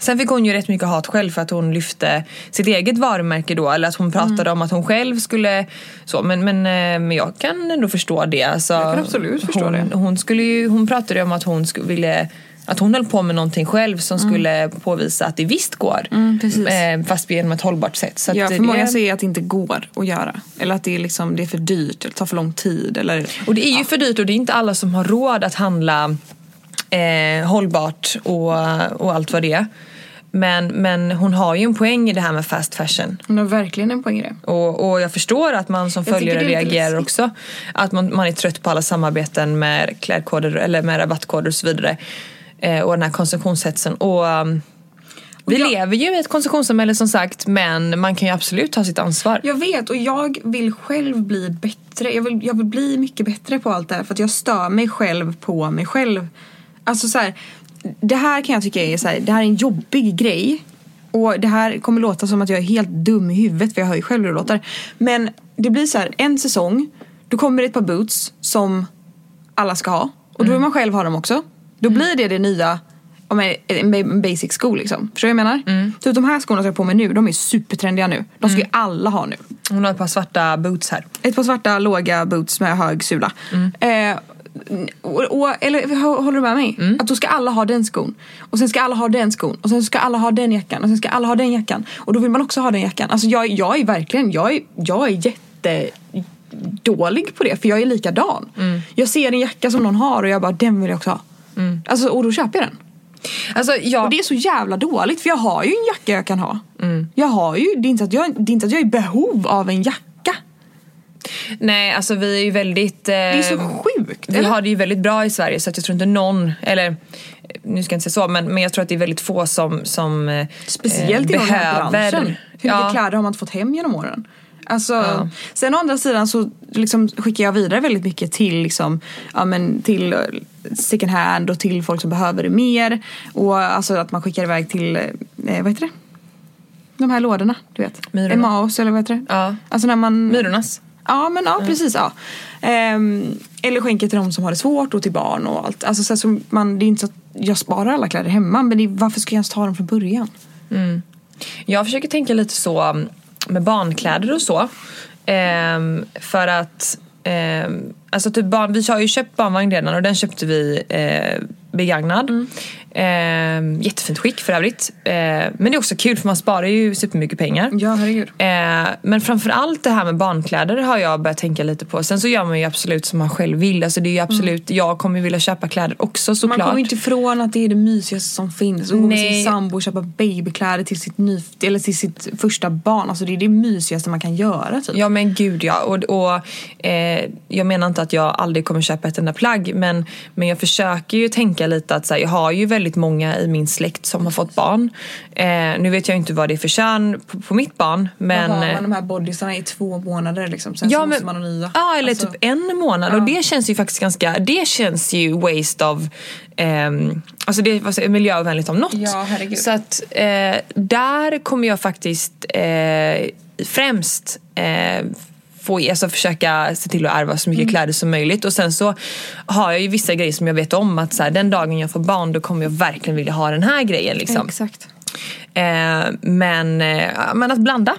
S3: Sen fick hon ju rätt mycket hat själv för att hon lyfte sitt eget varumärke då. Eller att hon pratade
S2: Mm.
S3: om att hon själv skulle... Så, men, men, eh, men jag kan ändå förstå det. Alltså,
S2: Jag kan absolut förstå
S3: hon,
S2: det.
S3: Hon, skulle ju, hon pratade ju om att hon skulle, ville... Att hon höll på med någonting själv som skulle påvisa att det visst går.
S2: Mm. precis.
S3: Eh, fast genom ett hållbart sätt. Så
S2: Ja,
S3: att
S2: för
S3: det-
S2: många säger att det inte går att göra. Eller att det är, liksom, det är för dyrt, eller tar för lång tid. Eller...
S3: Och det är ju för dyrt och det är inte alla som har råd att handla eh, hållbart och, och allt vad det är. Men, men hon har ju en poäng i det här med fast fashion.
S2: Hon har verkligen en poäng i det.
S3: Och, och jag förstår att man som
S2: Jag tycker
S3: följare
S2: det är lite
S3: reagerar
S2: läskigt.
S3: också. Att man, man är trött på alla samarbeten med klädkoder eller med rabattkoder och så vidare. Eh, och den här konsumtionshetsen. Och, um, vi
S2: jag-
S3: lever ju i ett konsumtionssamhälle som sagt men man kan ju absolut ta sitt ansvar.
S2: Jag vet och jag vill själv bli bättre. Jag vill, jag vill bli mycket bättre på allt det här för att jag stör mig själv på mig själv. Alltså så här, det här kan jag tycka är så här, det här är en jobbig grej. Och det här kommer låta som att jag är helt dum i huvudet för jag hör ju själv hur det låter. Men det blir så här, en säsong, då kommer det ett par boots som alla ska ha. Och då vill man själv ha dem också. Då blir det det nya, ja, men en ba- en basic sko liksom. Förstår du vad jag menar? Typ de här skorna som jag har på mig nu, de är supertrendiga nu. De ska ju alla ha nu.
S3: Hon har ett par svarta boots här.
S2: Ett par svarta låga boots med hög sula.
S3: Mm.
S2: Eh, och, och, eller hå- håller du med mig?
S3: Mm.
S2: Att då ska alla ha den skon. Och sen ska alla ha den skon. Och sen ska alla ha den jackan. Och sen ska alla ha den jackan. Och då vill man också ha den jackan. Alltså jag, jag är verkligen, jag är, jag är jätte dålig på det för jag är likadan.
S3: Mm.
S2: Jag ser en jacka som någon har och jag bara den vill jag också ha. Alltså, och då köper jag den.
S3: Alltså, jag...
S2: Och det är så jävla dåligt för jag har ju en jacka jag kan ha.
S3: Mm.
S2: Jag har ju, det är inte att jag, det är inte att jag är i behov av en jacka.
S3: Nej, alltså vi är ju väldigt... Eh,
S2: Det är så sjukt. sjukt.
S3: Vi har det ju väldigt bra i Sverige så att jag tror inte någon, eller eh, nu ska jag inte säga så, men, men jag tror att det är väldigt få som, som eh,
S2: Speciellt i den här
S3: behöver-
S2: branschen. Hur mycket
S3: Ja.
S2: kläder har man inte fått hem genom åren? Alltså, Sen å andra sidan så liksom skickar jag vidare väldigt mycket till, liksom, ja, men till eh, second hand och till folk som behöver det mer. Och alltså att man skickar iväg till, eh, vad heter det? De här lådorna, du vet.
S3: Myrorna.
S2: Emmaus eller vad heter det?
S3: Ja.
S2: Alltså när man...
S3: Myrornas.
S2: Ja, men ja, precis. Ja. Ehm, eller skänker till de som har det svårt och till barn och allt. Alltså, så här, så man, det är inte så att jag sparar alla kläder hemma men det är, varför ska jag ens ta dem från början?
S3: Jag försöker tänka lite så um, med barnkläder och så. Ehm, för att ehm, alltså typ barn, vi har ju köpt barnvagn redan och den köpte vi eh, begagnad.
S2: Mm.
S3: Ehm, jättefint skick för övrigt. Ehm, men det är också kul för man sparar ju supermycket pengar.
S2: Ja, herregud.
S3: Eh, men framförallt det här med barnkläder har jag börjat tänka lite på. Sen så gör man ju absolut som man själv vill. Alltså det är ju absolut, Jag kommer ju vilja köpa kläder också
S2: Mm. Man
S3: såklart.
S2: kommer ju inte ifrån att det är det mysigaste som finns. Att gå med
S3: Nej.
S2: sin sambo och köpa babykläder till sitt, ny, eller till sitt första barn. Alltså det är det mysigaste man kan göra typ.
S3: Ja men gud ja. Och, och, eh, jag menar inte att jag aldrig kommer köpa ett enda plagg men, men jag försöker ju tänka lite att så här, jag har ju väldigt många i min släkt som har fått barn. Eh, nu vet jag inte vad det är för kön på, på mitt barn men...
S2: Men, har man de här bodysarna i två månader liksom. Sen så måste man ha nya.
S3: Ja, eller
S2: Alltså,
S3: typ en månad. Och det känns ju faktiskt ganska... Det känns ju waste av... ehm, alltså det var miljöovänligt om något.
S2: Ja, herregud.
S3: Så att eh, där kommer jag faktiskt eh, främst eh, få, alltså försöka se till att ärva så
S2: Mm.
S3: mycket kläder som möjligt. Och sen så har jag ju vissa grejer som jag vet om att så här, den dagen jag får barn då kommer jag verkligen vilja ha den här grejen. Liksom.
S2: Exakt.
S3: Eh, men, eh, ja, men att blanda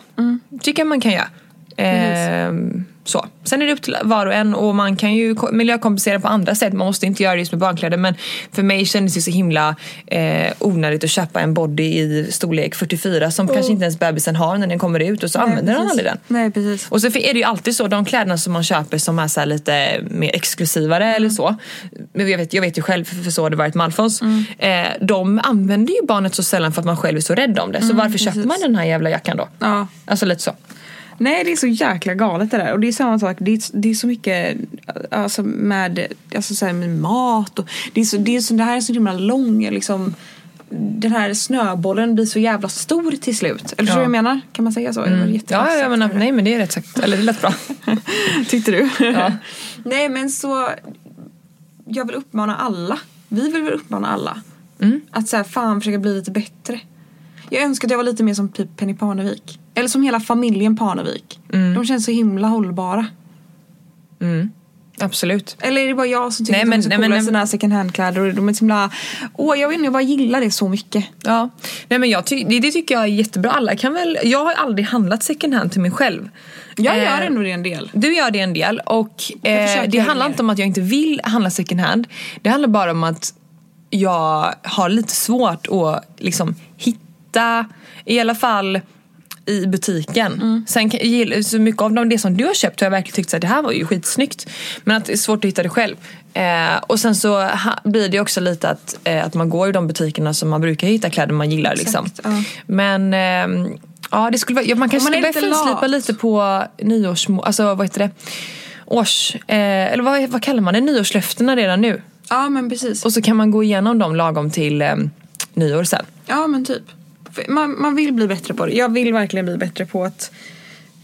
S3: tycker jag man kan göra. Eh, så. Sen är det upp till var och en och man kan ju ko- miljökompensera på andra sätt. Man måste inte göra det just med barnkläder men för mig kändes det så himla eh, onödigt att köpa en body i storlek 44 som kanske inte ens bebisen har när den kommer ut och så använder den
S2: precis.
S3: aldrig den.
S2: Nej, precis.
S3: Och så är det ju alltid så, de kläderna som man köper som är så här lite mer exklusivare eller
S2: Mm.
S3: så. Men jag vet, jag vet ju själv, för för så har det varit med Alfons.
S2: Mm.
S3: Eh, de använder ju barnet så sällan för att man själv är så rädd om det. Så varför köper man den här jävla jackan då?
S2: Mm, Ja.
S3: Alltså lite så.
S2: Nej, det är så jäkla galet det där. Och det är samma sak, det är, det är så mycket alltså, med, alltså, så här, med mat och det, är så, det, är så, det här är så himla lång liksom den här snöbollen blir så jävla stor till slut. Eller förstår du vad jag menar? Kan man säga så? Det var jätteexakt.
S3: Mm. Ja, ja men nej men det är rätt sagt. Eller det lät bra.
S2: Tyckte du?
S3: Ja.
S2: Nej men så Jag vill uppmana alla Vi vill väl uppmana alla
S3: Mm.
S2: Att så här, fan försöka bli lite bättre Jag önskar att jag var lite mer som typ Penny Parnevik Eller som hela familjen Parnevik
S3: Mm.
S2: De känns så himla hållbara
S3: Absolut.
S2: Eller är det bara jag som tycker
S3: Nej,
S2: att de
S3: men-
S2: är
S3: nej,
S2: så coola
S3: men-
S2: i sina second hand kläder och de är så himla Åh jag vet inte, jag bara gillar det så mycket
S3: Ja. Nej, men jag ty- det, det tycker jag är jättebra. Alla kan väl, jag har aldrig handlat second hand till mig själv.
S2: Jag
S3: Eh,
S2: gör ändå det en del
S3: Du gör det en del och
S2: Jag försöker
S3: eh, det
S2: göra
S3: handlar
S2: mer.
S3: inte om att jag inte vill handla second hand. Det handlar bara om att jag har lite svårt att liksom hitta, i alla fall i butiken.
S2: Mm.
S3: Sen kan- gill- så mycket av dem- det som du har köpt har jag verkligen tyckt att det här var ju skitsnyggt. Men att det är svårt att hitta det själv. Eh, och sen så ha, blir det också lite att, eh, att man går i de butikerna som man brukar hitta kläder man gillar. liksom.
S2: ja.
S3: Men ehm, ja, det skulle vara, ja, man kanske
S2: man
S3: ska
S2: är
S3: börja
S2: lite
S3: finslipa
S2: lat.
S3: lite på nyårs... Alltså vad heter det? Års... Eh, eller vad, vad kallar man det? Nyårslöftena redan nu.
S2: Ja men precis
S3: Och så kan man gå igenom dem lagom till eh, nyår sen.
S2: Ja men typ. För Man, man vill bli bättre på det. Jag vill verkligen bli bättre på att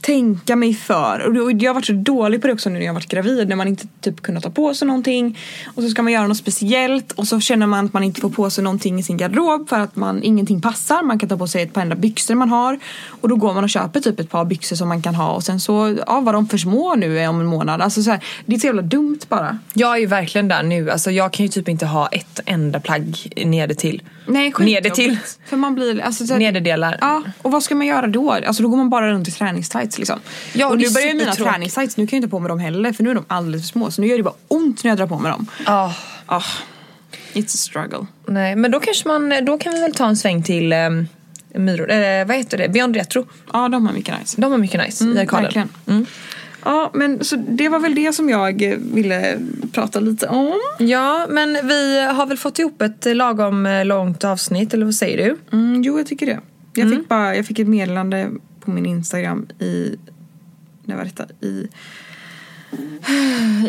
S2: tänka mig för. Och då- och jag har varit så dålig på det också nu när jag har varit gravid. När man inte typ kunnat ta på sig någonting. Och så ska man göra något speciellt. Och så känner man att man inte får på sig någonting i sin garderob. För att man, ingenting passar. Man kan ta på sig ett par enda byxor man har. Och då går man och köper typ ett par byxor som man kan ha. Och sen så, ja var de för små nu är om en månad. Alltså så här, det är så jävla dumt bara.
S3: Jag är ju verkligen där nu. Alltså, jag kan ju typ inte ha ett enda plagg nere till.
S2: Nej skitjobbigt.
S3: Nere till.
S2: För man blir, alltså så här,
S3: Nederdelar.
S2: Ja, och vad ska man göra då? Alltså då går man bara runt i träningstights liksom.
S3: Ja, och
S2: och
S3: det
S2: nu
S3: är
S2: börjar ju mina
S3: supertråkigt.
S2: träningstights, nu kan jag inte på mig dem heller för nu är de alldeles för små. Så nu gör det bara ont när jag drar på mig dem.
S3: Ah,
S2: Ah, it's a struggle.
S3: nej. Men då kanske man... Då kan vi väl ta en sväng till eh, Myror... Eh, vad heter det? Beyond Retro.
S2: Ja, de har mycket nice.
S3: De är mycket nice i arkaden.
S2: Mm, Verkligen.
S3: Mm.
S2: Ja, men så det var väl det som jag eh, ville prata lite om.
S3: Ja, men vi har väl fått ihop ett eh, lagom eh, långt avsnitt, eller vad säger du?
S2: Mm, jo, jag tycker det. Jag,
S3: Mm.
S2: fick bara, jag fick ett meddelande på min Instagram i... När var detta? I...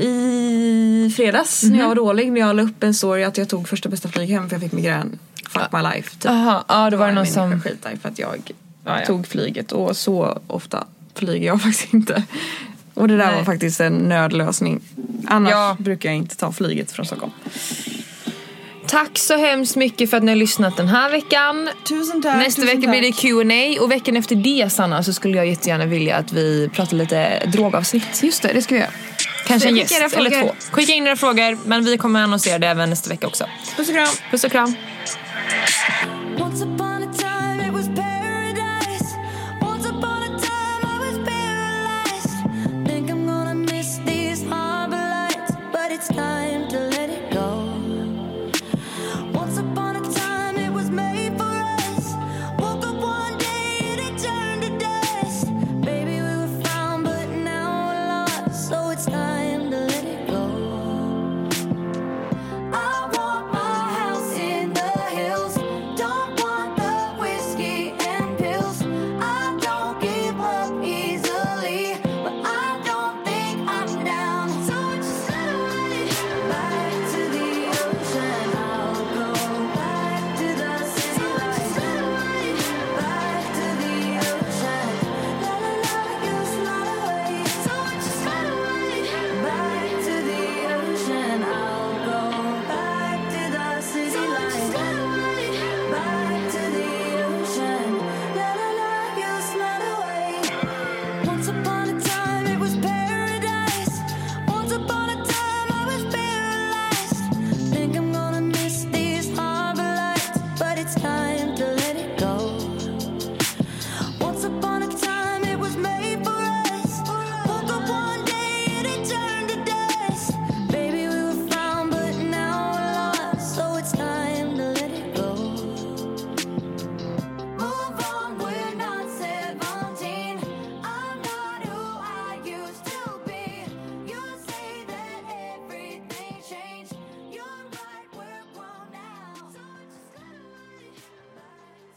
S2: i fredags när
S3: Mhm.
S2: jag var dålig när jag la upp en story att jag tog första bästa flyg hem för jag fick migrän. Fuck my life. Typ.
S3: Jaha, ja, då var det någon
S2: en människa
S3: som...
S2: skitar i för att jag
S3: Ja, ja.
S2: tog flyget och så ofta flyger jag faktiskt inte. Och det där
S3: Nej.
S2: var faktiskt en nödlösning. Annars
S3: Ja.
S2: brukar jag inte ta flyget från Stockholm.
S3: Tack så hemskt mycket för att ni har lyssnat den här veckan.
S2: Tusen tack.
S3: Nästa vecka blir det Q&A och veckan efter det Sanna så skulle jag jättegärna vilja att vi pratar lite drogavsnitt.
S5: Just det, det ska vi göra.
S3: Kanske en
S5: Skicka
S3: gäst
S5: era frågor.
S3: eller två. Skicka in era frågor men vi kommer annonsera det även nästa vecka också.
S5: Puss och kram.
S3: Puss och kram.
S6: Once upon a time, it was paradise. Once upon a time, I was paralyzed. Think I'm gonna miss these harbor lights, but it's time to let it go. Once upon a time, it was made for us. Woke up one day and it turned to dust. Baby, we were found, but now we're lost. So it's time to let it go. I want my house in the hills. Don't want the whiskey and pills. I don't give up easily, but I don't think I'm down. So just let it back to the ocean. I'll go back to the city. Just let it back to the ocean. La la la, goes not away. So just let back to the ocean. I'll go back to the city lights. Back to the ocean. La la la, you'll slide away. Once upon a time, it was paradise. Once upon a time, I was paralyzed. Think I'm gonna miss these harbor lights, but it's time to let it go. Once upon a time, it was made for us. Woke up one day and it turned to dust. Baby, we were found, but now we're lost. So it's time to let it go. Move on, we're not 17. I'm not who I used to be. You say that everything changed. You're right, we're grown now. So just let it lead back to the ocean.